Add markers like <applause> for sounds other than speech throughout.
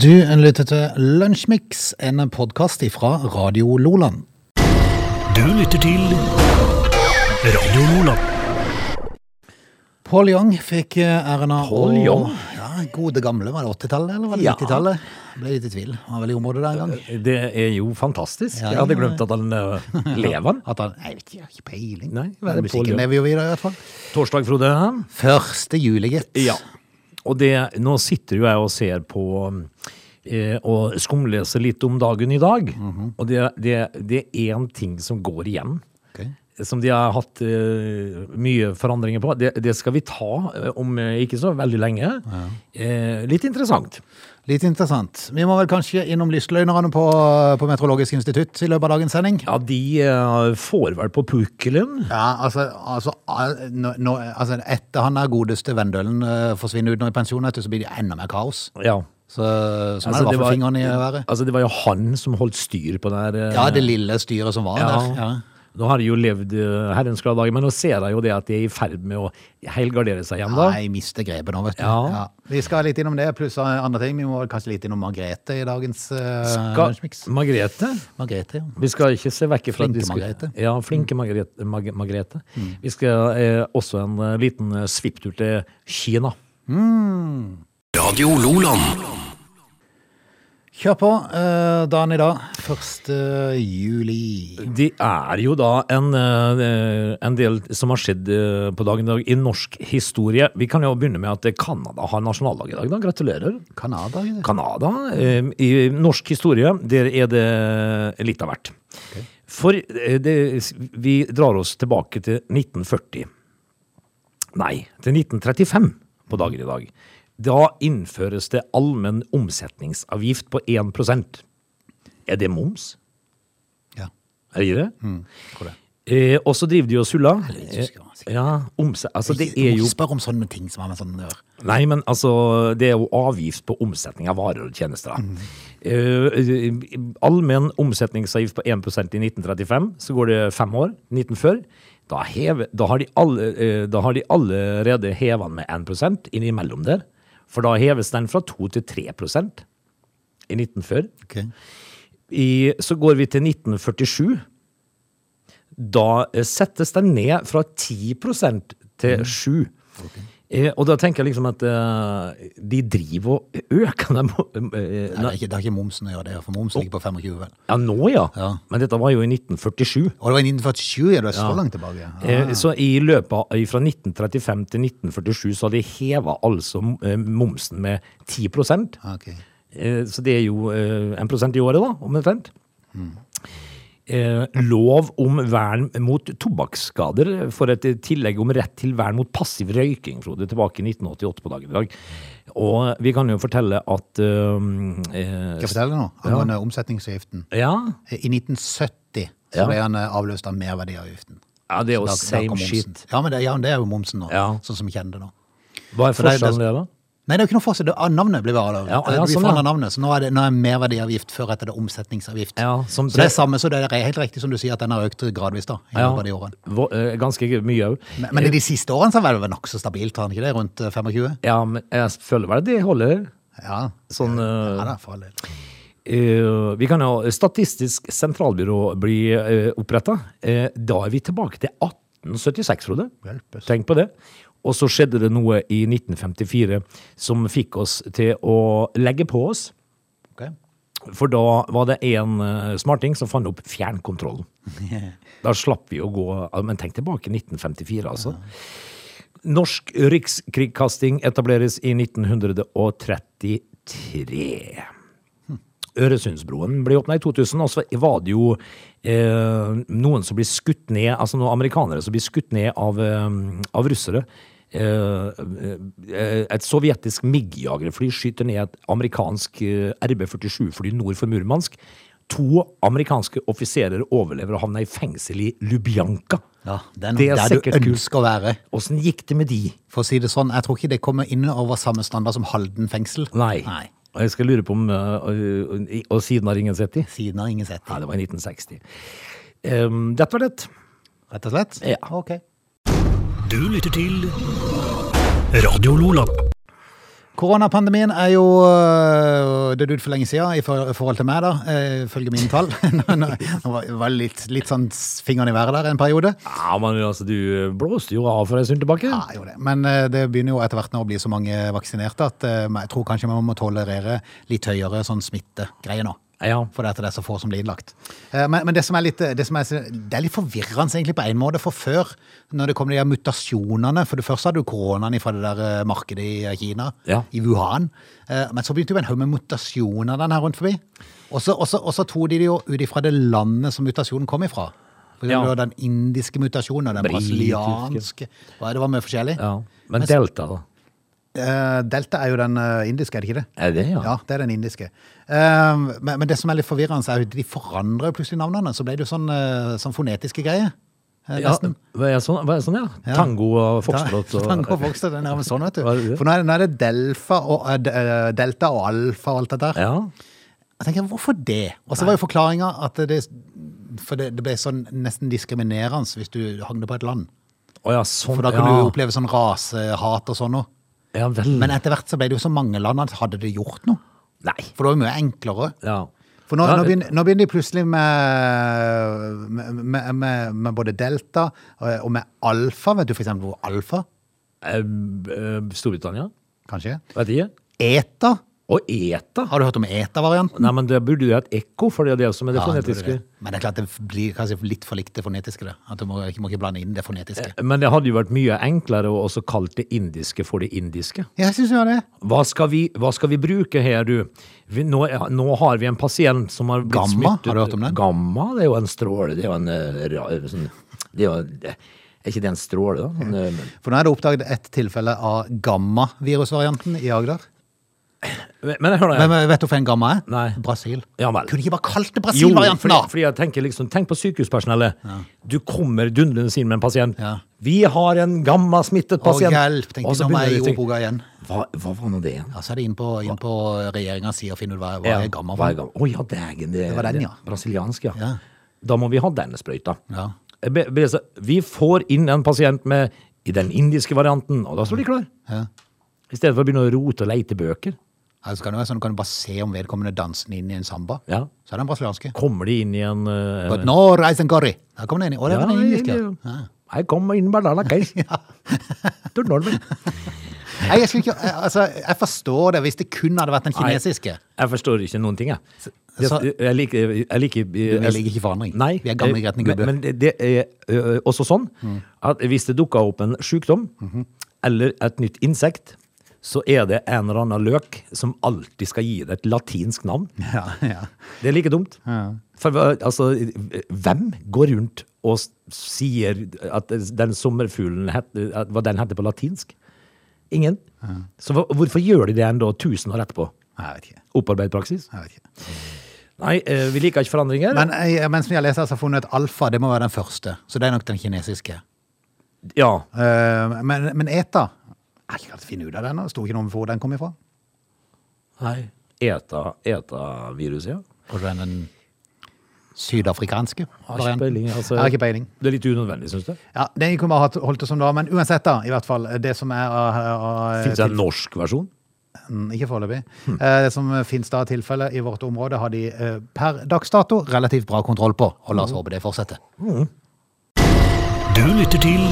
Du lytter til Lunsjmix, en podkast fra Radio Loland. Du lytter til Radio Nordland. Paul Young fikk eh, æren av Paul å- Young? Ja, gode gamle. Var det 80-tallet eller var det Ja. 90-tallet? Ble litt i tvil. Var vel i området der en gang. Det er jo fantastisk. Ja, Jeg hadde glemt at han eh, <laughs> lever. han. At han, jeg vet ikke, jeg har ikke peiling. Nei, hva er Men det Paul musikken Young? er vi jo i da, i hvert fall. Torsdag, Frode. Første juli, gitt. Og det, nå sitter jo jeg og ser på eh, og skumleser litt om dagen i dag. Mhm. Og det, det, det er én ting som går igjen. Ok. Som de har hatt eh, mye forandringer på. Det, det skal vi ta eh, om eh, ikke så veldig lenge. Eh, litt interessant. Litt interessant. Vi må vel kanskje innom lystløgnerne på, på Meteorologisk institutt i løpet av dagens sending? Ja, de eh, får vel på pukkelen. Ja, altså, altså, al- nå, nå, altså Etter han der godeste Vendølen eh, forsvinner ut nå i pensjon, vet du, så blir det enda mer kaos. Ja. Så, sånn er vaffelfingeren i været. altså, det var jo han som holdt styr på det her. eh, Ja, det lille styret som var der. Ja. Nå har de jo levd eh, herrens glade dager, men nå ser jeg jo det at de er i ferd med å helgardere seg igjen, da. Nei, mister grepet nå, vet du. Ja. Vi skal litt innom det, pluss andre ting. Vi må vel kanskje litt innom Margrethe i dagens eh, Skal, Lunsjmix. Margrethe? Margrethe, ja. Vi skal ikke se vekk fra at Flinke vi skal- Margrethe. Mm. Ja, flinke Margrethe. Mag Margrethe. Vi skal eh, også en eh, liten eh, svipptur til Kina. Radio Loland. Kjør på. eh, dagen i dag, 1. juli. Det er jo da en, eh, en del som har skjedd eh, på dagen i dag i norsk historie. Vi kan jo begynne med at Canada har nasjonaldag i dag. da. Gratulerer. Canada? Canada. eh, I norsk historie, der er det litt av hvert. For eh, det, vi drar oss tilbake til 1940. Nei, til 1935 på dagen i dag. Da innføres det allmenn omsetningsavgift på 1 Er det moms? Ja. Er det ikke Mm, det? Tror det. Eh, og så driver de og suller. Eh, litt tysker, sikkert. ja, omse- altså, det er jo Spør om sånne ting som har med sånn å gjøre. Nei, men altså, det er jo avgift på omsetning av varer og tjenester. da. Eh, eh, allmenn omsetningsavgift på 1 i 1935, så går det fem år, 1940. Da, heve, da, har, de alle, eh, da har de allerede hevet den med 1 innimellom der. For da heves den fra 2 til 3 i 1940. Ok. I, så går vi til 1947. Da eh, settes den ned fra 10 Mm. til 7 Eh, og da tenker jeg liksom at eh, de driver og øker dem. eh, Nei, det, er ikke, det har ikke momsen å gjøre, det, er, for momsen ligger på 25. vel. ja, nå ja. Ja. Men dette var jo i 1947. Og det var i 1947, ja, du er så langt tilbake. Ja. Eh, Så i løpet av eh, fra 1935 til 1947 så har de heva altså eh, momsen med 10 Ah, ok. Eh, Så det er jo eh, 1 i året, da, omtrent. Eh, Lov om vern mot tobakksskader for et tillegg om rett til vern mot passiv røyking, Frode, tilbake i 1988 på dagen i dag. Og vi kan jo fortelle at eh, Skal jeg eh, fortelle deg noe angående omsetningsavgiften? ja, Eh, I 1970 så Ja. ble han eh, avløst av merverdiavgiften. ja, det er jo Da- da kom same momsen. shit. Ja, men det, ja, det er jo momsen nå, Ja. sånn som vi kjenner det nå. Hva er For det er- forskjellen der, da? Nei, det er jo ikke noe forskjell. det- ah, Navnet blir bare Eh, Ja, ja, Vi sånn, forandrer ja. navnet, så nå er det nå er merverdiavgift før etter det er omsetningsavgift. Ja, som så det er samme, så det er helt riktig som du sier at den har økt gradvis da, i løpet av de årene. Vå- eh, Ganske mye òg. Men, men i de siste årene så har det vært nokså stabilt, har den ikke det? Rundt eh, 25? Ja, men jeg føler vel at det holder. Ja, Sånn eh, ja da, for all del. Eh, vi kan ha Statistisk sentralbyrå bli uh, oppretta. da er vi tilbake til 1876, Frode. Hjelpes. Tenk på det. Og så skjedde det noe i 1954 som fikk oss til å legge på oss. Ok. <laughs> For da var det en eh, smarting som fant opp fjernkontrollen. Da slapp vi å gå ja, Men tenk tilbake 1954, altså. Norsk rikskringkasting etableres i 1933. Øresundsbroen ble åpna i 2000, og så var det jo eh, noen som blir skutt ned, altså noen amerikanere som blir skutt ned av, eh, av russere. Eh, eh, et sovjetisk MIG-jagerfly skyter ned et amerikansk eh, RB-47-fly nord for Murmansk. To amerikanske offiserer overlever og havner i fengsel i Lubjanka. Ja, det er, noe, Det er der du sikkert kult. ønsker å være. Åssen gikk det med de? For å si det sånn, jeg tror ikke det kommer inn over samme standard som Halden fengsel. Nei. Og jeg skal lure på om eh, Og og siden har ingen sett de? Siden har ingen sett Nei, det. det var i 1960. Em, dette var det. Rett og slett? Ja. Ok. Du lytter til Radio Loland. Koronapandemien er jo øh, jo dødd ut for lenge siden i for- forhold til meg, da, eh, ifølge mine tall. <laughs> Han var, var litt, litt sånn s- fingeren i været der en periode. Ja, men altså, du blåste jo av for en stund tilbake. Ja, jo det. Men eh, det begynner jo etter hvert nå å bli så mange vaksinerte at eh, jeg tror kanskje man må tolerere litt høyere sånn smittegreier nå. Ja. For det at det er så få som blir innlagt. Eh, Men, men det, som er litt, det, som er, det er litt forvirrende egentlig på en måte, for før, når det kom de her mutasjonene For det første hadde du koronaen fra det der eh, markedet i Kina, Ja. i Wuhan. Eh, Men så begynte jo en haug med mutasjoner den her rundt forbi. Og så- Og så og så tok de det jo ut ifra det landet som mutasjonen kom ifra. For Ja. eksempel Den indiske mutasjonen og den Britiske. brasilianske Hva er det det var mye forskjellig? ja. Men Delta, da? Eh, Delta er jo den eh, indiske, er det ikke det? Er det, Ja, det er den indiske. Eh, men, men det som er litt forvirrende, så er jo at de forandrer jo plutselig navnene. Så ble det jo sånn, eh, sånn fonetiske greier. eh, Ja, nesten. var jeg sånn, var jeg sånn, ja. Ja. Tango og foxtrot. <laughs> Ta- og- Tango og Foxtrot, det er nærmest sånn, vet Hva er du. det? For nå er, det- nå er det delfa og, eh, de- eh, delta og alfa og alt det der. Ja. Jeg tenker, hvorfor det? Og så var jo forklaringa at det, for det, det ble sånn nesten diskriminerende hvis du hang det på et land. Å ja, sånn. For da kan ja. du oppleve sånn rasehat og sånn noe. Ja vel. Men etter hvert så ble det jo så mange land at hadde det gjort noe? Nei. For det var jo mye enklere. Ja. For nå, Ja, nå, begynner, nå begynner de plutselig med, med, med, med både delta eh, og og med alfa. Vet du for eksempel hvor alfa eh, b- eh, Storbritannia? kanskje er? Vet ikke. Eta? Og ETA? Har du hørt om eta-varianten? Nei, men det burde jo hatt ekko, for det er det som er det Ja, jeg tror fonetiske. det. Men det er klart det blir kanskje litt for likt det fonetiske. Det. At du må, må ikke blande inn det fonetiske. Men det hadde jo vært mye enklere å også kalle det indiske for det indiske. Jeg syns jo det. Hva skal vi, hva skal vi bruke her, du? Vi, nå, nå har vi en pasient som har blitt Gamma, smittet. har du hørt om den? Gamma, det er jo en stråle. Det er jo en eh, ra- sånn, det er, jo, er ikke det en stråle, da? Sånn, eh, For nå er det oppdaget ett tilfelle av gamma-virusvarianten i Agder. men, men hør nå. Men vet du hvorfor en gamma er? Nei. Brasil. Ja vel. Kunne de ikke bare kalt det Jo, Brasil-varianten, fordi, da? fordi jeg tenker liksom, Tenk på sykehuspersonellet. Du kommer dundrende inn med en pasient. Ja. Vi har en gammasmittet Å, pasient. hjelp! Tenkte Og de, så nå må jeg begynner i de å tenke, ordboka igjen. Hva, hva var nå det igjen? Ja, så Altså, er det inn på, inn på regjeringas side og finne ut hva, hva er gamma Hva er for. gamma? Å ja, dægen. Det, var den, ja. Brasiliansk, ja. Ja. Da må vi ha denne sprøyta. Ja. Jeg be- be- så Vi får inn en pasient med i den indiske varianten, og da står de klar. Ja. I stedet for å begynne å rote og leite bøker. Altså, kan det være sånn, kan du bare se om vedkommende danser inn i en samba. Ja. Så er den brasilianske. Kommer de inn i en eh, But no rice and curry. Der kommer den inn. i- Å, det var den indiske. ja. Ja. Her kommer inn Bardala <laughs> Keis. Turnholmen. Nei, jeg, skulle ikke, jeg- altså, jeg forstår det hvis det kun hadde vært den Nei. kinesiske. Jeg forstår ikke noen ting, jeg. Jeg, så- jeg liker, jeg liker Vi liker ikke forandring. Nei. Vi er gamle eh, gretne men- gubber. Men det- det er ø, også sånn at hvis det dukker opp en sykdom eller et nytt insekt, så er det en eller annen løk som alltid skal gi det et latinsk navn. Ja, ja. Det er like dumt. For hva- altså, hvem går rundt og s- sier at den sommerfuglen het, at hva den heter på latinsk? Ingen. Så hva- hvorfor gjør de det ennå, tusen år etterpå? Nei, Jeg vet ikke. Opparbeidet praksis? Jeg vet ikke. Nei, eh, vi liker ikke forandringer. Men jeg, mens vi har lest, har jeg funnet ut alfa. Det må være den første. Så det er nok den kinesiske. ja. Eh, men, men eta Jeg har ikke klart å finne ut av den. nå. Det sto ikke noe om hvor den kom ifra. Nei. Eta, eta viruset, ja. Kanskje den den sydafrikanske Har ikke varianten? peiling. Altså, Jeg har ikke peiling. Det er litt unødvendig, syns du? Ja, det kunne vi ha holdt det som da, men uansett da, i hvert fall, eh, det som er av- av- Fins det en norsk versjon? Mm, Ikke foreløpig. Hmm. Eh, Det som finnes da av tilfeller i vårt område, har de eh, per dags dato relativt bra kontroll på, og la oss Hmm. håpe det fortsetter. Du lytter til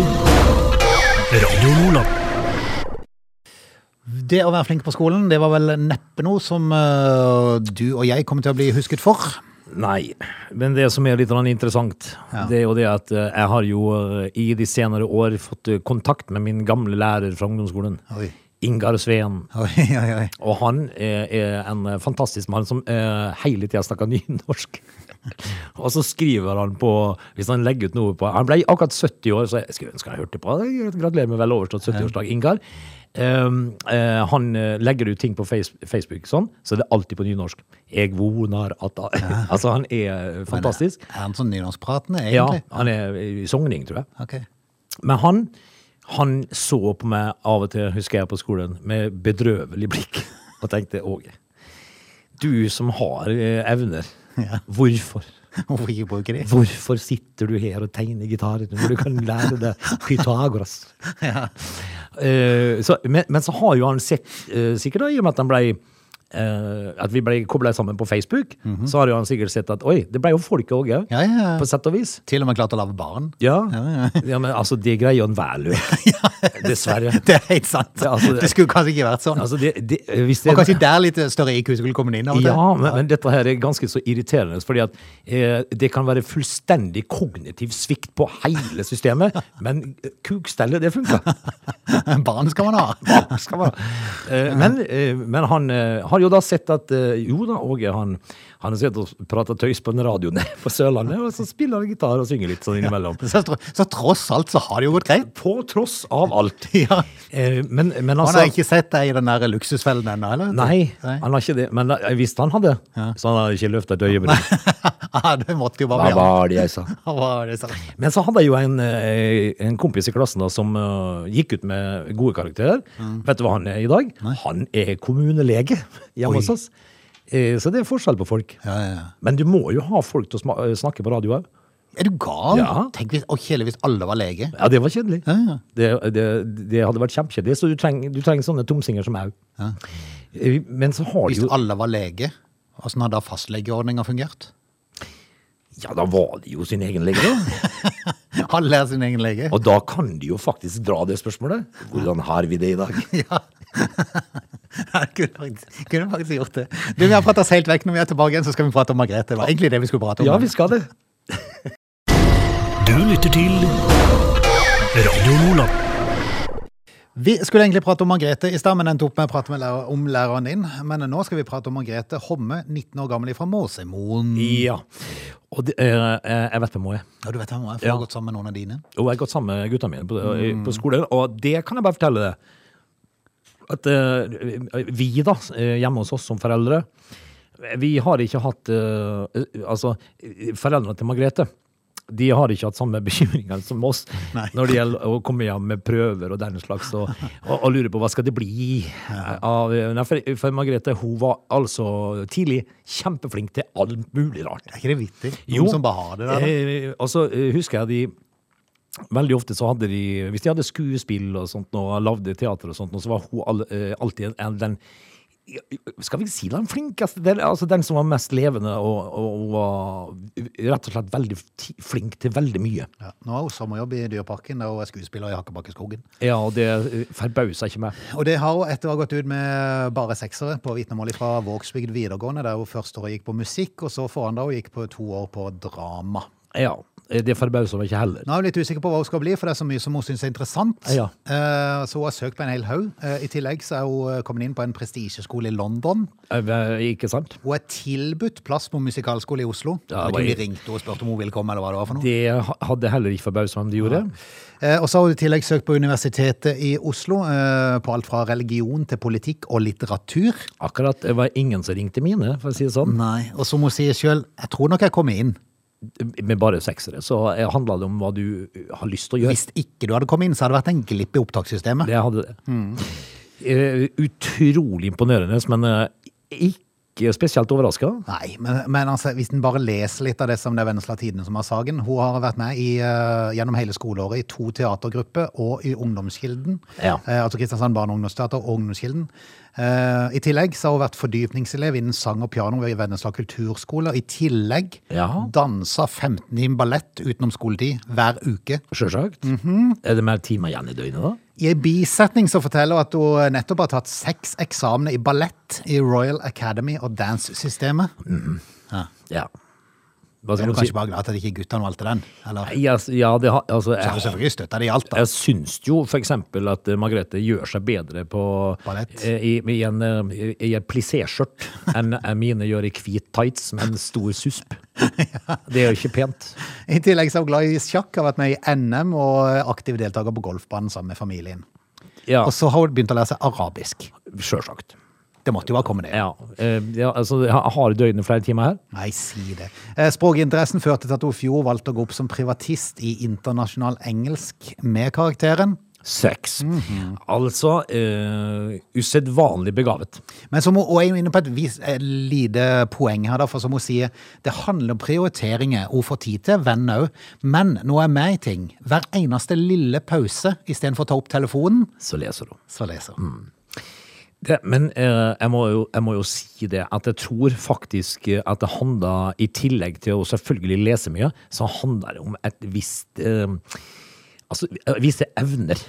Radio Nordland. Det å være flink på skolen, det var vel neppe noe som eh, du og jeg kommer til å bli husket for. <laughs> Nei, men det som er litt grann interessant, det er jo det at eh, jeg har jo eh, i de senere år fått eh, kontakt med min gamle lærer fra ungdomsskolen, Oi, Ingar Sveen. oi, oi. oi. eh, Og han er, er en fantastisk mann som eh, hele tida snakker nynorsk. <laughs> og så skriver han på Hvis han legger ut noe på Han ble akkurat 70 år, så jeg skulle ønske han hørte på. Gratulerer med vel overstått 70-årsdag, Ingar. Um, eh, han eh, legger ut ting på face, Facebook, sånn, så det er alltid på nynorsk. Eg vonar at <laughs> Altså, han er fantastisk. Er han sånn nynorskpratende, Ja, egentlig? han er i sogning, tror jeg. Ok. <laughs> Men han, han så på meg av og til, husker jeg på skolen, med bedrøvelig blikk. <laughs> Og tenkte Åge, du som har eh, evner, <laughs> Ja. hvorfor? Hvorfor ikke bruke de? Hvorfor sitter du her og tegner gitarer når du kan lære deg Pythagoras? <laughs> Eh, så, men, men så har jo han sett, eh, sikkert da, i og med at han ble eh, at vi ble kobla sammen på Facebook, så har jo han sikkert sett at oi, det ble jo folk òg, ja. Mhm. Ja, ja, ja. På sett og vis. Til og med klart å lage barn. Ja. Ja, <laughs> ja, men altså, det greier jo enhver <laughs> løk. Dessverre. <laughs> Det er helt sant. Ja, altså, det- det, skulle kanskje ikke vært sånn. Altså, det, det, hvis det, Og kanskje der litt større IQ skulle kommet inn. av og til. Ja, men, men dette her er ganske så irriterende, fordi at eh, det kan være fullstendig kognitiv svikt på hele <laughs> systemet, men eh, kukstellet, det <laughs> funker. <laughs> Barn skal <laughs> man ha. Hva skal man ha? Eh, men, eh, men han eh, har jo da sett at eh, jo da, Åge, han, han har sett og pratet tøys på en radio nede på Sørlandet, og så spiller han gitar og synger litt sånn innimellom. <laughs> Så, tro- så tross alt så har det jo gått <laughs> greit. På tross av alt. Ja. Eh, men, men Han altså... har ikke sett deg i den der luksusfellen ennå, eller? Nei, Nei. han har ikke det, men jeg visste han hadde, så han hadde ikke løftet et øyebryn. <laughs> Ja, det måtte jo bare bli <laughs> Hva han. var det jeg sa? <laughs> Hva var det, sa han? Men så hadde jeg jo en, eh, en kompis i klassen da, som eh, gikk ut med gode karakterer. Vet du hva han er i dag? Han er kommunelege <laughs> hjemme hos oss. Eh, Så det er forskjell på folk. Ja, ja, ja. Men du må jo ha folk til å sma- eh, snakke på radio òg. Er du gal? Ja. Tenk hvis, og kjedelig hvis alle var lege. Ja, det var kjedelig. Ja, ja. Det, det, det hadde vært kjempekjedelig. Så du trenger, du trenger sånne tomsinger som au. Eh, Men så har Hvis du jo alle var lege, åssen hadde da fastlegeordninga fungert? <laughs> Ja, da var det jo sin egen lege, <laughs> da. Alle er sin egen lege. Og da kan de jo faktisk dra det spørsmålet. Hvordan har vi det i dag? <laughs> Ja. <laughs> Jeg kunne faktisk, kunne faktisk gjort det. Du, Vi har pratet oss helt vekk. Når vi er tilbake igjen, så skal vi prate om Margrethe. Det var egentlig det vi skulle prate om. Ja, vi skal det. Du lytter til Radio Nordland. Vi skulle egentlig prate om Margrethe i stad, men endte opp med å prate med lærer, om læreren din. Men nå skal vi prate om Margrethe Homme, 19 år gammel fra Måsemoen. Ja. Og det, eh, eh, jeg vet hvem hun er. Ja, du vet hvem hun er, for Ja. hun har gått sammen med noen av dine. Og jeg har gått sammen med gutta mine på, på skolen, og det kan jeg bare fortelle deg. At eh, vi, da, eh, hjemme hos oss som foreldre, vi har ikke hatt eh, Altså, foreldrene til Margrethe. De har ikke hatt samme <laughs> bekymringer som oss Nei. når det gjelder å komme hjem med prøver og den slags, og, og, og lure på hva skal det bli av eh, Nei, for, for Margrethe hun var altså tidlig kjempeflink til alt mulig rart. Er ikke det vittig? Noen som bare har det der. da. Eh, og så eh, husker jeg de Veldig ofte så hadde de Hvis de hadde skuespill og sånt og lagde teater og sånt, og så var hun all, eh, alltid en- en- den skal vi ikke si den flinkeste? Den, altså den som var mest levende og, og, og var rett og slett veldig ti- flink til veldig mye. Ja. Nå har hun sommerjobb i Dyreparken og er skuespiller i Hakkebakkeskogen. Ja, og det eh, forbauser ikke meg. Og det har hun etter å ha gått ut med bare seksere på vitnemål fra Vågsbygd videregående, der hun første året gikk på musikk, og så forandra hun gikk på to år på drama. Ja, eh, det forbauser meg ikke heller. Nå er hun litt usikker på hva hun skal bli, for det er så mye som hun syns er interessant. Ja. Eh, Så hun har søkt på en hel haug. Eh, I tillegg så er hun eh, kommet inn på en prestisjeskole i London. Eh, Ikke sant? Hun er tilbudt plass på musikalskole i Oslo. Jeg vet ikke Ja, om bare- de ringte og spurte om hun ville komme, eller hva det var for noe. Det ha- hadde heller ikke forbauset meg om de gjorde. Eh, Og så har hun i tillegg søkt på Universitetet i Oslo eh, på alt fra religion til politikk og litteratur. Akkurat det var ingen som ringte mine, for å si det sånn. Nei, og som hun sier sjøl, jeg tror nok jeg kommer inn. med bare seksere, så handla det om hva du har lyst til å gjøre. Hvis ikke du hadde kommet inn, så hadde det vært en glipp i opptakssystemet. Det hadde det. Mm. Eh, Utrolig imponerende, men eh, ikke spesielt overraska. Nei, men, men altså, hvis en bare leser litt av det som det er Vennesla Tidende som har saken Hun har vært med i, eh, gjennom hele skoleåret i to teatergrupper og i Ungdomskilden. Ja. Eh, altså Kristiansand Barne- og ungdomsteater og Ungdomskilden. Eh, I tillegg så har hun vært fordypningselev innen sang og piano ved Vennesla kulturskole. Og i tillegg Ja. dansa 15 timer ballett utenom skoletid hver uke. Sjølsagt. Mhm. Er det mer timer igjen i døgnet, da? I en bisetning så forteller hun at hun nettopp har tatt seks eksamener i ballett i Royal Academy og dance-systemet. Ja. Hva Er skal du man si? kanskje bare glad at ikke guttene valgte den? Eller? Nei, altså, Ja, det har Altså, Så har du jeg, selvfølgelig støtta det i alt, da. jeg syns jo for eksempel at eh, Margrethe gjør seg bedre på Ballett. eh, I, i en, eh, i en plissé-skjørt <laughs> enn eh, mine gjør i hvit tights med en stor susp. Det er jo ikke pent. I tillegg så er hun glad i sjakk, har vært med i NM og er aktiv deltaker på golfbanen sammen med familien. Ja, Og så har hun begynt å lære seg arabisk. sjølsagt. Det måtte jo ha kommet det. Ja, eh, ja altså ha- Har døgnet flere timer her? Nei, si det. Eh, Språkinteressen førte til at hun i fjor valgte å gå opp som privatist i internasjonal engelsk med karakteren. Seks. Altså eh, usedvanlig begavet. Men som hun og jeg er jo inne på et, vis, et lite poeng her, da, for som hun sier, det handler om prioriteringer. Hun får tid til venn òg, men nå er jeg med i ting. Hver eneste lille pause, istedenfor å ta opp telefonen, Så leser hun. så leser hun. Det, men eh, jeg, må jo, jeg må jo si det, at jeg tror faktisk eh, at det handler, i tillegg til å selvfølgelig lese mye, så handler det om et visst eh, Altså eh, visse evner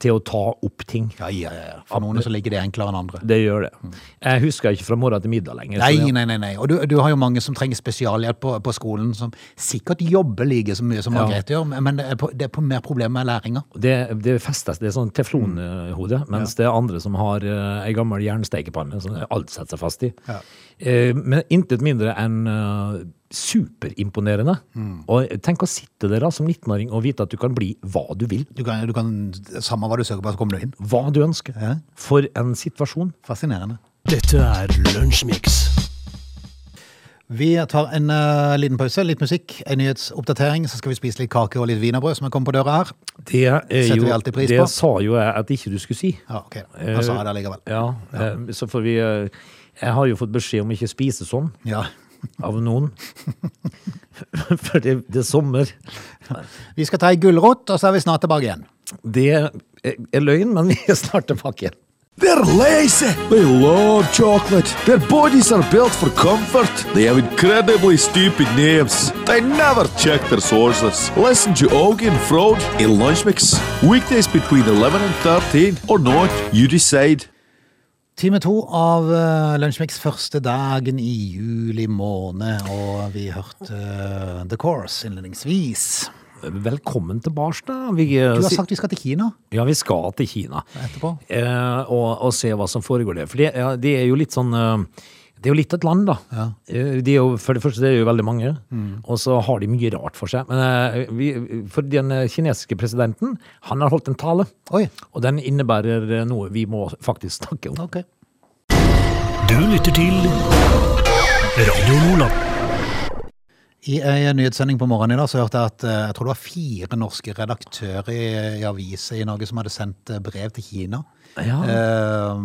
til å ta opp ting. Ja, ja, ja. ja. For noen så ligger det enklere enn andre. Det gjør det. Jeg husker ikke fra morgen til middag lenger. så Nei, det- nei, nei. nei. Og du, du har jo mange som trenger spesialhjelp på, på skolen, som sikkert jobber like så mye som Ja. Margrethe gjør, men det er, på, det er på mer problemer med læringa. Det, det festes, det er sånn teflonhode, mens det er andre som har uh, ei gammel jernstekepanne som alt setter seg fast i. Ja. Eh, men intet mindre enn eh, superimponerende. Og tenk å sitte der da, som 19-åring og vite at du kan bli hva du vil, Du kan, du kan, samme hva du søker på, så kommer du inn. hva du ønsker. Ja. For en situasjon. Fascinerende. Dette er Lunsjmix. Vi tar en eh, liten pause, litt musikk, en nyhetsoppdatering, så skal vi spise litt kake og litt wienerbrød som er kommet på døra her. Det, er Setter jo, vi alltid pris det på. sa jo jeg at ikke du skulle si. Ja, ok. Da sa jeg det likevel. Ja, eh, så får vi eh, Jeg har jo fått beskjed om ikke å spise sånn. Ja. av <laughs> noen. For det, det er sommer. Vi skal ta ei gulrot, og så er vi snart tilbake igjen. Det er er løgn, men vi er snart tilbake igjen. They're lazy. They love chocolate. Their bodies are built for comfort. They have incredibly stupid names. They never check their sources. Listen to Augie and Frode in Lunch Mix. Weekdays between 11 and 13 or not, you decide. Time to av eh, Lunsjmix første dagen i juli måned, og vi hørte eh, The Course innledningsvis. Velkommen tilbake, da. Vi, Du har sagt vi skal til Kina. Ja, vi skal til Kina. Etterpå. Eh, og, og se hva som foregår der. For det, ja, det er jo litt sånn eh, Det er jo litt av et land, da. Eh, De er jo, for det første det er jo veldig mange, og så har de mye rart for seg. Men eh, vi, for den eh, kinesiske presidenten, han har holdt en tale. Oi. Og den innebærer eh, noe vi må faktisk snakke om. Ok. Du lytter til Radio Nordland. I en nyhetssending på morgenen i dag så hørte jeg at eh, jeg tror det var fire norske redaktører i, i aviser i Norge som hadde sendt eh, brev til Kina. Ja. Eh,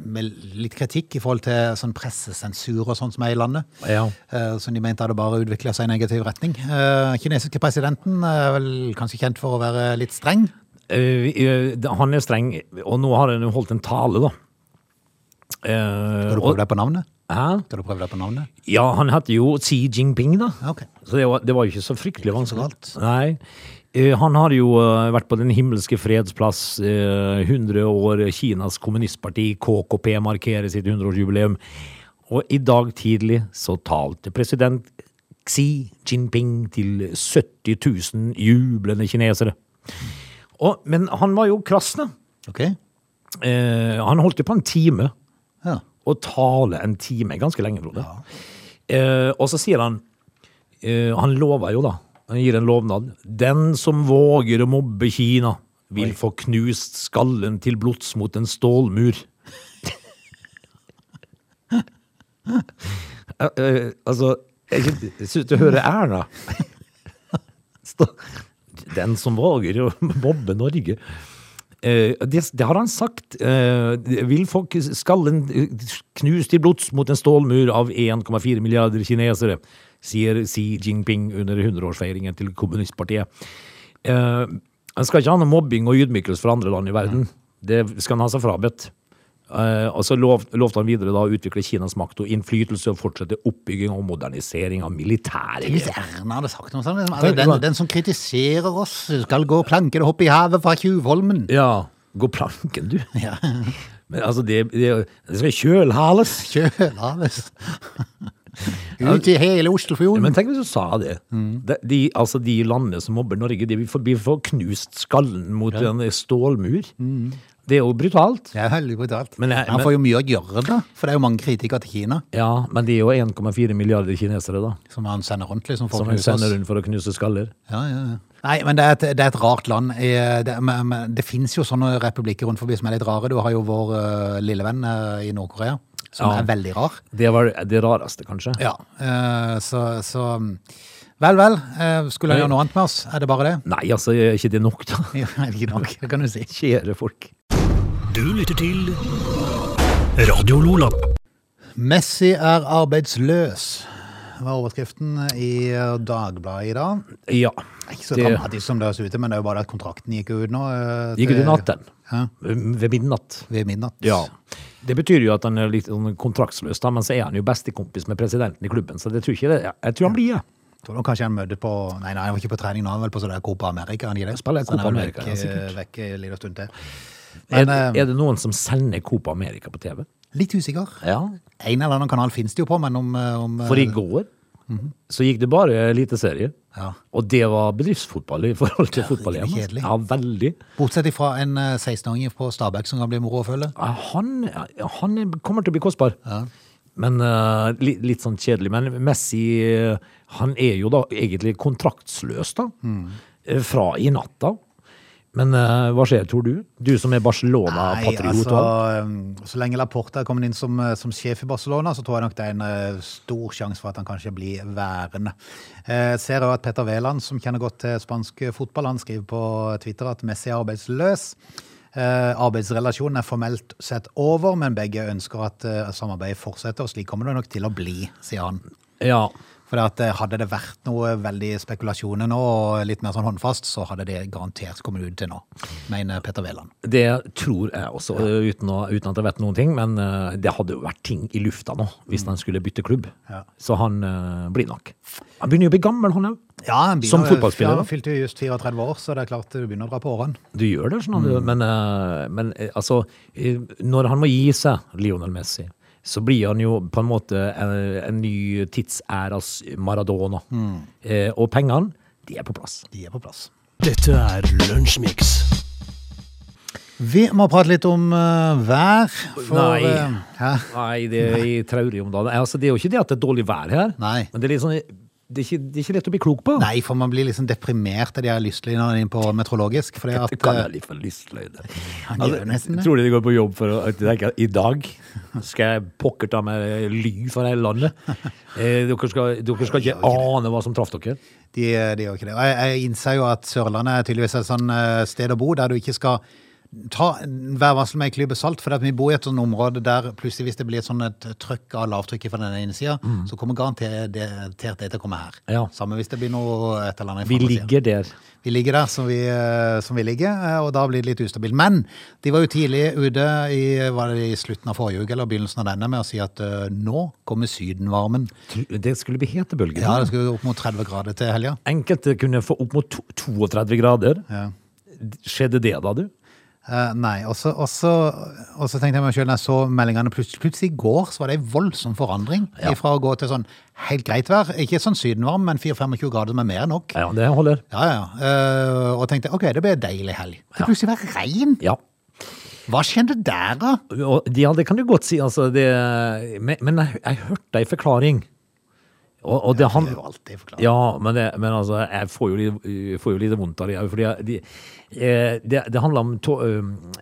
med litt kritikk i forhold til sånn pressesensur og sånt som er i landet. Ja. eh, Som de mente hadde bare utvikla seg i negativ retning. Eh, kinesiske presidenten er vel kanskje kjent for å være litt streng. Eh, eh, det- han er streng, og nå har han jo holdt en tale, da. Eh, Skal du og- prøve deg på navnet? Hæ? Skal du prøve deg på navnet? Ja, han heter jo Xi Jinping, da. Ja, ok. Så det var, det var jo ikke så fryktelig vanskelig. galt. Nei. Eh, Han har jo eh, vært på Den himmelske freds plass. eh, 100 år Kinas kommunistparti, KKP, markerer sitt 100-årsjubileum. Og i dag tidlig så talte president Xi Jinping til 70 000 jublende kinesere. Og, men han var jo krass, da. Ok? Eh, han holdt jo på en time Ja. å tale en time, ganske lenge, Frode. Eh, og så sier han eh, Han lover jo, da. Han gir en lovnad. Den som våger å mobbe Kina, vil få knust skallen til blods mot en stålmur. Eh, eh, altså Jeg syns du hører Erna. Stå. Den som våger å <laughs> mobbe Norge. Eh, det, det har han sagt. Eh, det vil få k- skallen eh, knust til blods mot en stålmur av 1,4 milliarder kinesere, sier Xi Jinping under 100-årsfeiringen til kommunistpartiet. Eh, han skal ikke ha noe mobbing og ydmykelse fra andre land i verden. Det skal han ha seg frabedt. Eh, og så lov, lovte han videre da å utvikle Kinas makt og innflytelse og fortsette oppbygging og modernisering av militæret. Hvis Erna hadde sagt noe sånt liksom. altså, den, den som kritiserer oss, skal gå plankede hopp i havet fra Tjuvholmen. Ja, gå planken, du. <laughs> Ja. Men altså, det, det, det skal kjølhales. Kjølhavet. <laughs> Ut i hele Oslofjorden. Men tenk hvis du sa det. Mm. De, de, altså de landene som mobber Norge, de vil få, vi får knust skallen mot en stålmur. Mm. Det er jo brutalt. Det er veldig brutalt. Men Men, jeg- Han får jo mye å gjøre, da. For det er jo mange kritikere til Kina Ja, men det er jo 1,4 milliarder kinesere da, som han sender rundt. liksom for å som vi knuse oss. sender rundt for å knuse skaller. Ja, ja, ja. Nei, men det er et, det er et rart land. Eh, Det, men, men, det fins jo sånne republikker rundt forbi som er litt rare. Du har jo vår eh, lille venn eh, i Nord-Korea, som Ja. er veldig rar. Det var det rareste, kanskje. Ja, eh, så, så Vel, vel. eh, Skulle han gjøre noe annet med oss? Er det bare det? <laughs> Nei, altså, er ikke det nok da? Ja, er det ikke nok, det kan du si. Kjære folk. Du lytter til Radio Lola. Messi er arbeidsløs, var overskriften i eh, Dagbladet i dag. Ja. Ikke så Det- dramatisk som det høres ut, til, men det er jo bare at kontrakten gikk ut nå. eh, Gikk til- du natten? Hæ? Ved midnatt. Ved midnatt. Ja. Det betyr jo at han er litt sånn kontraktsløs, da, men så er han jo bestekompis med presidenten i klubben, så det tror ikke det. Jeg tror han blir det. Tror du kanskje han møtte på Nei, nei, han var ikke på trening nå, han var vel på sånn der Copa America. Han gir det. Spiller Så han er Copa vel America, ja, vekk, eh, sikkert. vekk en liten stund til. Er, Men eh, er det noen som sender Copa America på TV? litt usikker. Ja. En eller annen kanal finnes det jo på, men om, eh, om eh, For i går så gikk det bare eliteserie. Ja. Og det var bedriftsfotball i forhold til fotball hjemme. altså. kjedelig. Ja, veldig. Bortsett fra en eh, 16-åring på Stabæk som kan bli moro å følge. Ja, Han, han kommer til å bli kostbar. Men eh, li, litt sånn kjedelig. Men Messi eh, han er jo da egentlig kontraktsløs, da. Mm. Eh, Fra i natta. Men eh, hva skjer, tror du? Du som er Barcelona-patriot. altså, og alt. eh, så lenge Laporta er kommet inn som, eh, som sjef i Barcelona, så tror jeg nok det er en eh, stor sjanse for at han kanskje blir værende. Eh, ser også at Petter Wæland, som kjenner godt til spansk fotball, han skriver på Twitter at Messi er arbeidsløs. Eh, arbeidsrelasjonen er formelt sett over, men begge ønsker at eh, samarbeidet fortsetter, og slik kommer det nok til å bli, sier han. Ja. For at eh, hadde det vært noe veldig spekulasjoner nå, og litt mer sånn håndfast, så hadde det garantert kommet ut til nå, mener Petter Wæland. Det tror jeg også, eh, uten, å, uten at jeg vet noen ting. Men eh, det hadde jo vært ting i lufta nå, hvis han skulle bytte klubb. Mm. Ja. Så han eh, blir nok. Han begynner jo å bli gammel, han òg. Ja, han Som fotballspiller, da? Han fylte jo just 34 år, så det er klart du begynner å dra på årene. Du gjør det, skjønner du. Mm. Men, eh, men eh, altså, eh, når han må gi seg, Lionel Messi, så blir han jo på en måte en, en ny tidsæras Maradona. Mm. Eh, og pengene, de er på plass. De er på plass. Dette er Lunsjmix. Vi må prate litt om eh, vær. For, Nei. eh, hæ? Nei, det er i traurig om dagen. Altså, det er jo ikke det at det er dårlig vær her, Nei. men det er, litt sånn, det, er ikke, det er ikke lett å bli klok på. Nei, for man blir liksom deprimert av de her lystlinjene inn på meteorologisk. Fordi at, Det kan eh, jeg litt for lystløyde. Altså, Han gjør nesten det. tror du de går på jobb for å tenke at i dag skal jeg pokker ta meg ly for hele <laughs> landet? Eh, dere, skal, dere skal ikke ane hva som traff dere. De, eh, de gjør ikke det. Og jeg, jeg innser jo at Sørlandet er tydeligvis et sånn eh, sted å bo der du ikke skal ta hver varsel med en klype salt, for at vi bor i et sånt område der plutselig hvis det blir et sånn et trøkk av lavtrykket fra den ene sida, så kommer garantert det, garantert det til å komme her. Mm. Ja. Samme hvis det blir noe et eller annet. fra Vi andre siden. ligger der. Vi ligger der som vi, eh, som vi ligger, eh, og da blir det litt ustabilt. Men de var jo tidlig ute i, var det i slutten av forrige uke eller begynnelsen av denne med å si at eh, nå kommer sydenvarmen. Det skulle bli hetebølger. Ja, det skulle opp mot 30 grader til helga. Enkelte kunne få opp mot to- 32 grader. Ja. Skjedde det da, du? Eh, nei, og så og så- og så tenkte jeg meg selv når jeg så meldingene plutselig, plutselig i går, så var det en voldsom forandring fra å gå til sånn helt greit vær, ikke sånn sydenvarm, men 4-25 grader som er mer enn nok. Ja, det holder. Ja, ja. Eh, og tenkte ok, det blir en deilig helg. Det plutselig var regn. Ja. Hva skjedde der, da? Og- Ja, det kan du godt si. Altså, det, men men jeg, jeg hørte ei forklaring. Og, og det, han, Det er jo alltid forklart. Ja, men, det, men altså, jeg får jo litt, jeg får jo litt vondt av det. Fordi jeg, de, eh, det, det handler om tå-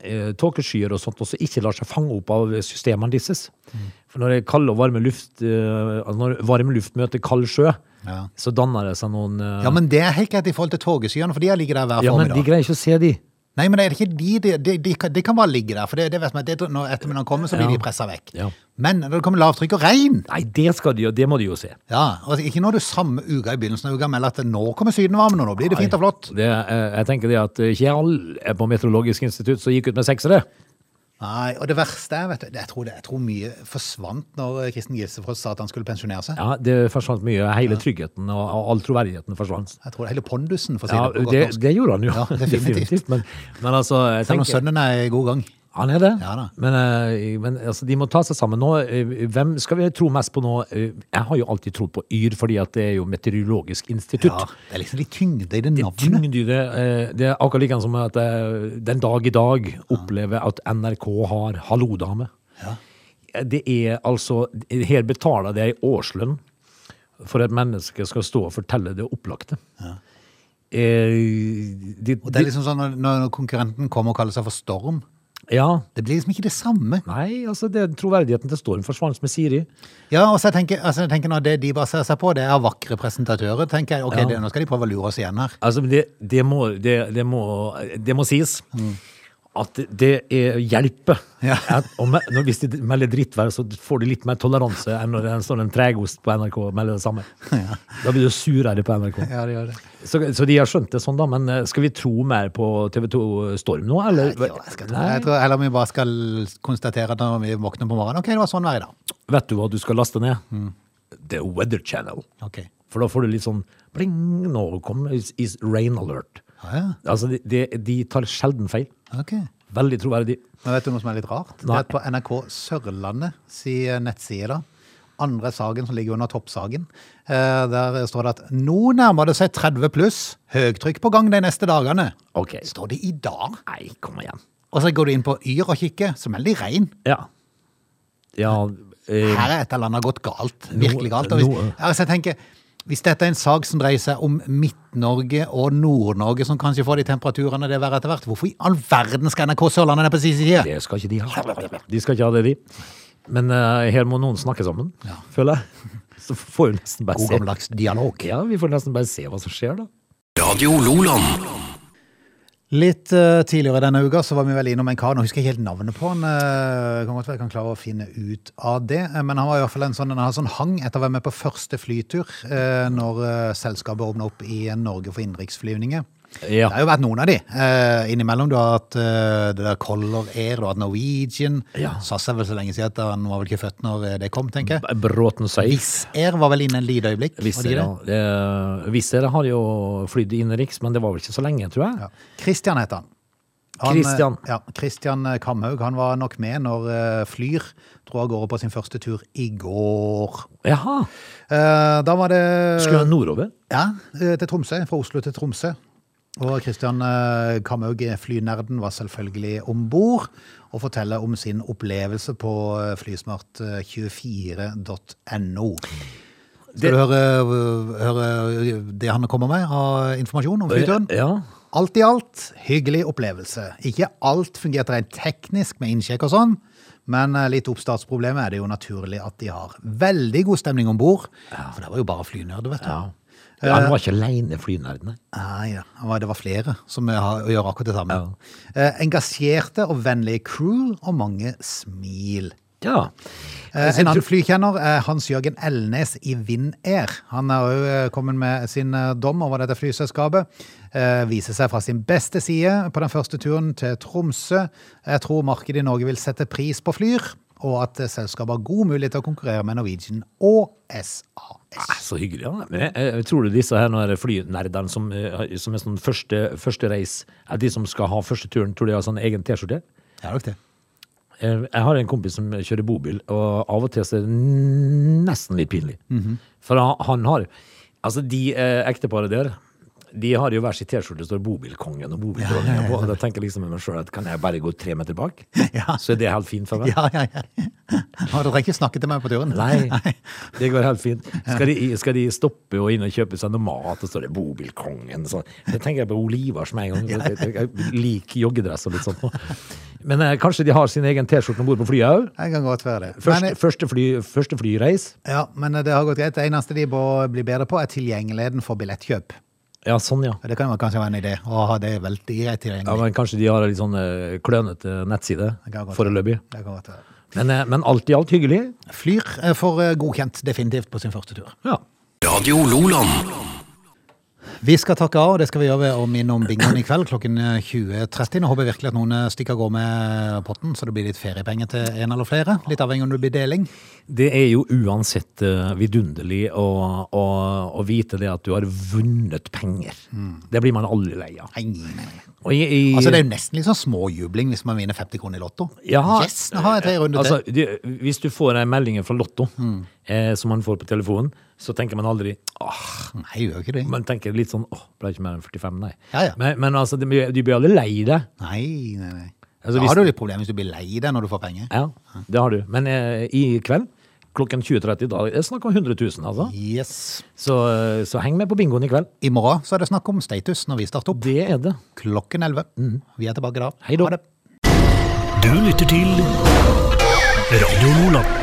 eh, tåkeskyer og sånt, og som ikke lar seg fange opp av systemene disses. Mm. For når det er kald og varme luft, eh, altså når varm luft møter kald sjø, Ja. så danner det seg noen eh, Ja, men det er helt greit i forhold til togeskyene, for de ligger der hver ja, men de formiddag. greier ikke å se de. Nei, men er det ikke de, de, de, de, kan, de kan bare ligge der, for det, det vet man, det, når ettermiddagen kommer, så blir Ja. de presset vekk. Ja. Men når det kommer lavtrykk og regn, Nei, det skal de jo, det må de jo se. ja, og ikke når du samme uka i begynnelsen av uka melder at nå kommer sydenvarmen, og nå blir det fint og flott. Det, eh, jeg tenker det at eh, ikke alle er på Meteorologisk institutt som gikk ut med seksere. Nei, og det verste er, vet du, det- jeg tror, det, jeg tror mye forsvant når Kristen Gilsefrost sa at han skulle pensjonere seg. Ja, det forsvant mye. Hele tryggheten og, og all troverdigheten forsvant. Jeg tror det hele pondusen, for å si Ja, det på godt det, norsk. det gjorde han jo. <laughs> Ja, definitivt. Men, men altså, jeg Selv om tenker, sønnen er i god gang. han er det. Ja da. men eh, men altså, de må ta seg sammen nå. Eh, Hvem skal vi tro mest på nå? Eh, Jeg har jo alltid trodd på Yr, fordi at det er jo Meteorologisk Ja, institutt. det er liksom litt tyngde i det navnet. Tyngde i det, eh, det er akkurat like som at jeg den dag i dag opplever at NRK har Hallo, dame. Det er altså Her betaler de ei årslønn for at mennesket skal stå og fortelle det opplagte. Eh, de, Og det er de- liksom sånn når, når konkurrenten kommer og kaller seg for Storm, Ja. det blir liksom ikke det samme. Nei, altså det, troverdigheten til Storm forsvant med Siri. Ja, og så jeg tenker, altså jeg tenker når det de baserer seg på, det er vakre presentatører, tenker jeg, ok, Ja. det, nå skal de prøve å lure oss igjen her. Altså, det, det, må, det, det, må, det må sies at det er hjelper. Ja. <laughs> At om, når, hvis de melder drittvær, så får de litt mer toleranse enn når det står en tregost på NRK og melder det samme. Da blir du surere på NRK. Ja, det gjør det. Så, så de har skjønt det sånn, da. Men eh, skal vi tro mer på TV2 Storm nå, eller? Jo, jeg skal tro det. Nei. Jeg tror heller vi bare skal konstatere at når vi våkner på morgenen OK, det var sånn været i dag. Vet du hva du skal laste ned? Mm. The Weather Channel. Ok. For da får du litt sånn pling, nå kommer is, is rain alert. Ah, Ja, ja. Altså, de, de, de tar sjelden feil. Ok. Veldig troverdig. Men vet du noe som er litt rart? Det Nei. er at på NRK Sørlandet si eh, nettside da, andre saken som ligger under toppsaken, eh, der står det at nå nærmer det seg 30 pluss, høytrykk på gang de neste dagene. Ok. Står det i dag? Nei, kom igjen. Og så går du inn på Yr og kikker, så melder de regn. Ja. Ja, eh, Her er et eller annet gått galt. Virkelig galt. Og hvis, nå- Ja, altså, jeg tenker, hvis dette er en sak som dreier seg om Midt-Norge og Nord-Norge, som kanskje får de temperaturene det er verre etter hvert, hvorfor i all verden skal NRK Sørlandet ned på sin side? det skal ikke de ha. De skal ikke ha det, de. Men eh, her må noen snakke sammen, føler jeg. <laughs> Så får vi nesten bare God se. gammeldags dialog. Ja, vi får nesten bare se hva som skjer, da. Radio Loland. Litt eh, tidligere denne uka så var vi vel innom en kar, nå husker jeg ikke helt navnet på han, eh, kan godt være jeg kan klare å finne ut av det, eh, men han var i hvert fall en sånn, han hadde sånn hang etter å være med på første flytur eh, når eh, selskapet åpnet opp i Norge for innenriksflyvninger. Ja. Det har jo vært noen av de eh, innimellom. Du har hatt eh, det der Color Air, du har hatt Norwegian. Ja. SAS er vel så lenge siden at han var vel ikke født når eh, det kom, tenker jeg. Bråten sier Wizz Air var vel inne en lite øyeblikk? var de Wizz eh, Air, det? ja. Eh, Wizz Air har jo flydd innenriks, men det var vel ikke så lenge, tror jeg. Ja. Christian heter han. Han, eh, Christian. Ja, Christian eh, Kamhaug. Han var nok med når eh, Flyr dro av gårde på sin første tur i går. Jaha! Eh, da var det Skulle han nordover? Ja, eh, til Tromsø. Fra Oslo til Tromsø. Og Christian eh, Kamhaug, flynerden, var selvfølgelig om bord og forteller om sin opplevelse på eh, flysmart24.no. Skal Det- du høre, eh, høre det han kommer med av informasjon om flyturen? Ja. Alt i alt, hyggelig opplevelse. Ikke alt fungerte rent teknisk med innsjekk og sånn, men eh, litt oppstartsproblemer er det jo naturlig at de har. Veldig god stemning om bord, for det var jo bare flynerder, vet du. ja. Han var ikke aleine, flynerdene. Nei, Ah, ja. Det var- det var flere som eh, har- gjør akkurat det samme. Ja. Eh, Engasjerte og vennlige crew og mange smil. Ja. Eh, En annen flykjenner er Hans-Jørgen Elnes i Vind Air. Han har òg eh, kommet med sin eh, dom over dette flyselskapet. Eh, Viser seg fra sin beste side på den første turen til Tromsø. Jeg tror markedet i Norge vil sette pris på Flyr, og at eh, selskapet har god mulighet til å konkurrere med Norwegian og SAS. Ah, Så hyggelig. Ja. Men jeg, jeg Eh, tror du disse her nå er det flynerdene som, eh, som er sånn første, første reis, er de som skal ha første turen, tror de har sånn egen T-skjorte? Ja, nok det. Eh, Jeg har en kompis som kjører bobil, og av og til så er det nesten litt pinlig. For han, han har Altså, de eh, ekteparet der, de har jo hver sin T-skjorte, det står 'Bobilkongen' og 'Bobildronningen' på. Og da tenker jeg liksom med meg sjøl at kan jeg bare gå tre meter bak? Ja. Så er det helt fint for meg? Ja, ja, <laughs> ja. Nå, Du trenger ikke snakke til meg på turen. <laughs> Nei, det går helt fint. Skal de, skal de stoppe og inn og kjøpe seg noe mat, og så er det 'Bobilkongen'? Så, det tenker jeg på Olivas med en gang. Jeg, jeg, jeg liker joggedress og litt sånt. nå. Men eh, kanskje de har sin egen T-skjorte om bord på flyet òg? Jeg kan godt være det. Første, Men, første, fly, første flyreis? ja, men det har gått greit. Det eneste de bør bli bedre på, er tilgjengeligheten for billettkjøp. Ja, sånn, ja. Det kan jo kanskje være en idé å ha det veldig greit ja tilgjengelig. men kanskje de har en litt sånn eh, klønete nettside Det kan godt foreløpig. Det kan godt være. Men, eh, men alt i alt hyggelig. Flyr eh, får eh, godkjent definitivt på sin første tur. Ja. Radio Loland. Vi skal takke av, og det skal vi gjøre ved å minne om bingoen i kveld klokken eh, 20.30. Nå håper jeg virkelig at noen eh, stikker av gårde med potten, så det blir litt feriepenger til en eller flere. Litt avhengig om det blir deling. Det er jo uansett eh, vidunderlig å, å, å vite det at du har vunnet penger. Mm. Det blir man aldri lei av. Nei, nei, nei. Og i, i, Altså, det er jo nesten litt sånn småjubling hvis man vinner 50 kroner i Lotto. Ja. Yes, nå har jeg tre runder altså, til. Mm. det- Hvis du får en melding fra Lotto eh, som man får på telefonen, så tenker man aldri åh, Nei, jeg gjør ikke det. Man tenker litt sånn åh, ble ikke mer enn 45, nei. Ja, ja. Men, men altså, det- du blir aldri lei deg. Nei, nei, nei. Altså, da hvis- har du litt problemer hvis du blir lei deg når du får penger. Ja, det har du. Men eh, i kveld klokken 20.30, da er det snakk om 100 000, altså. Yes. Så, eh, så heng med på bingoen i kveld. I morgen så er det snakk om status når vi starter opp. Det er det. Klokken 11. Vi er tilbake da. Hei da. Ha det. Du lytter til Radio Loland.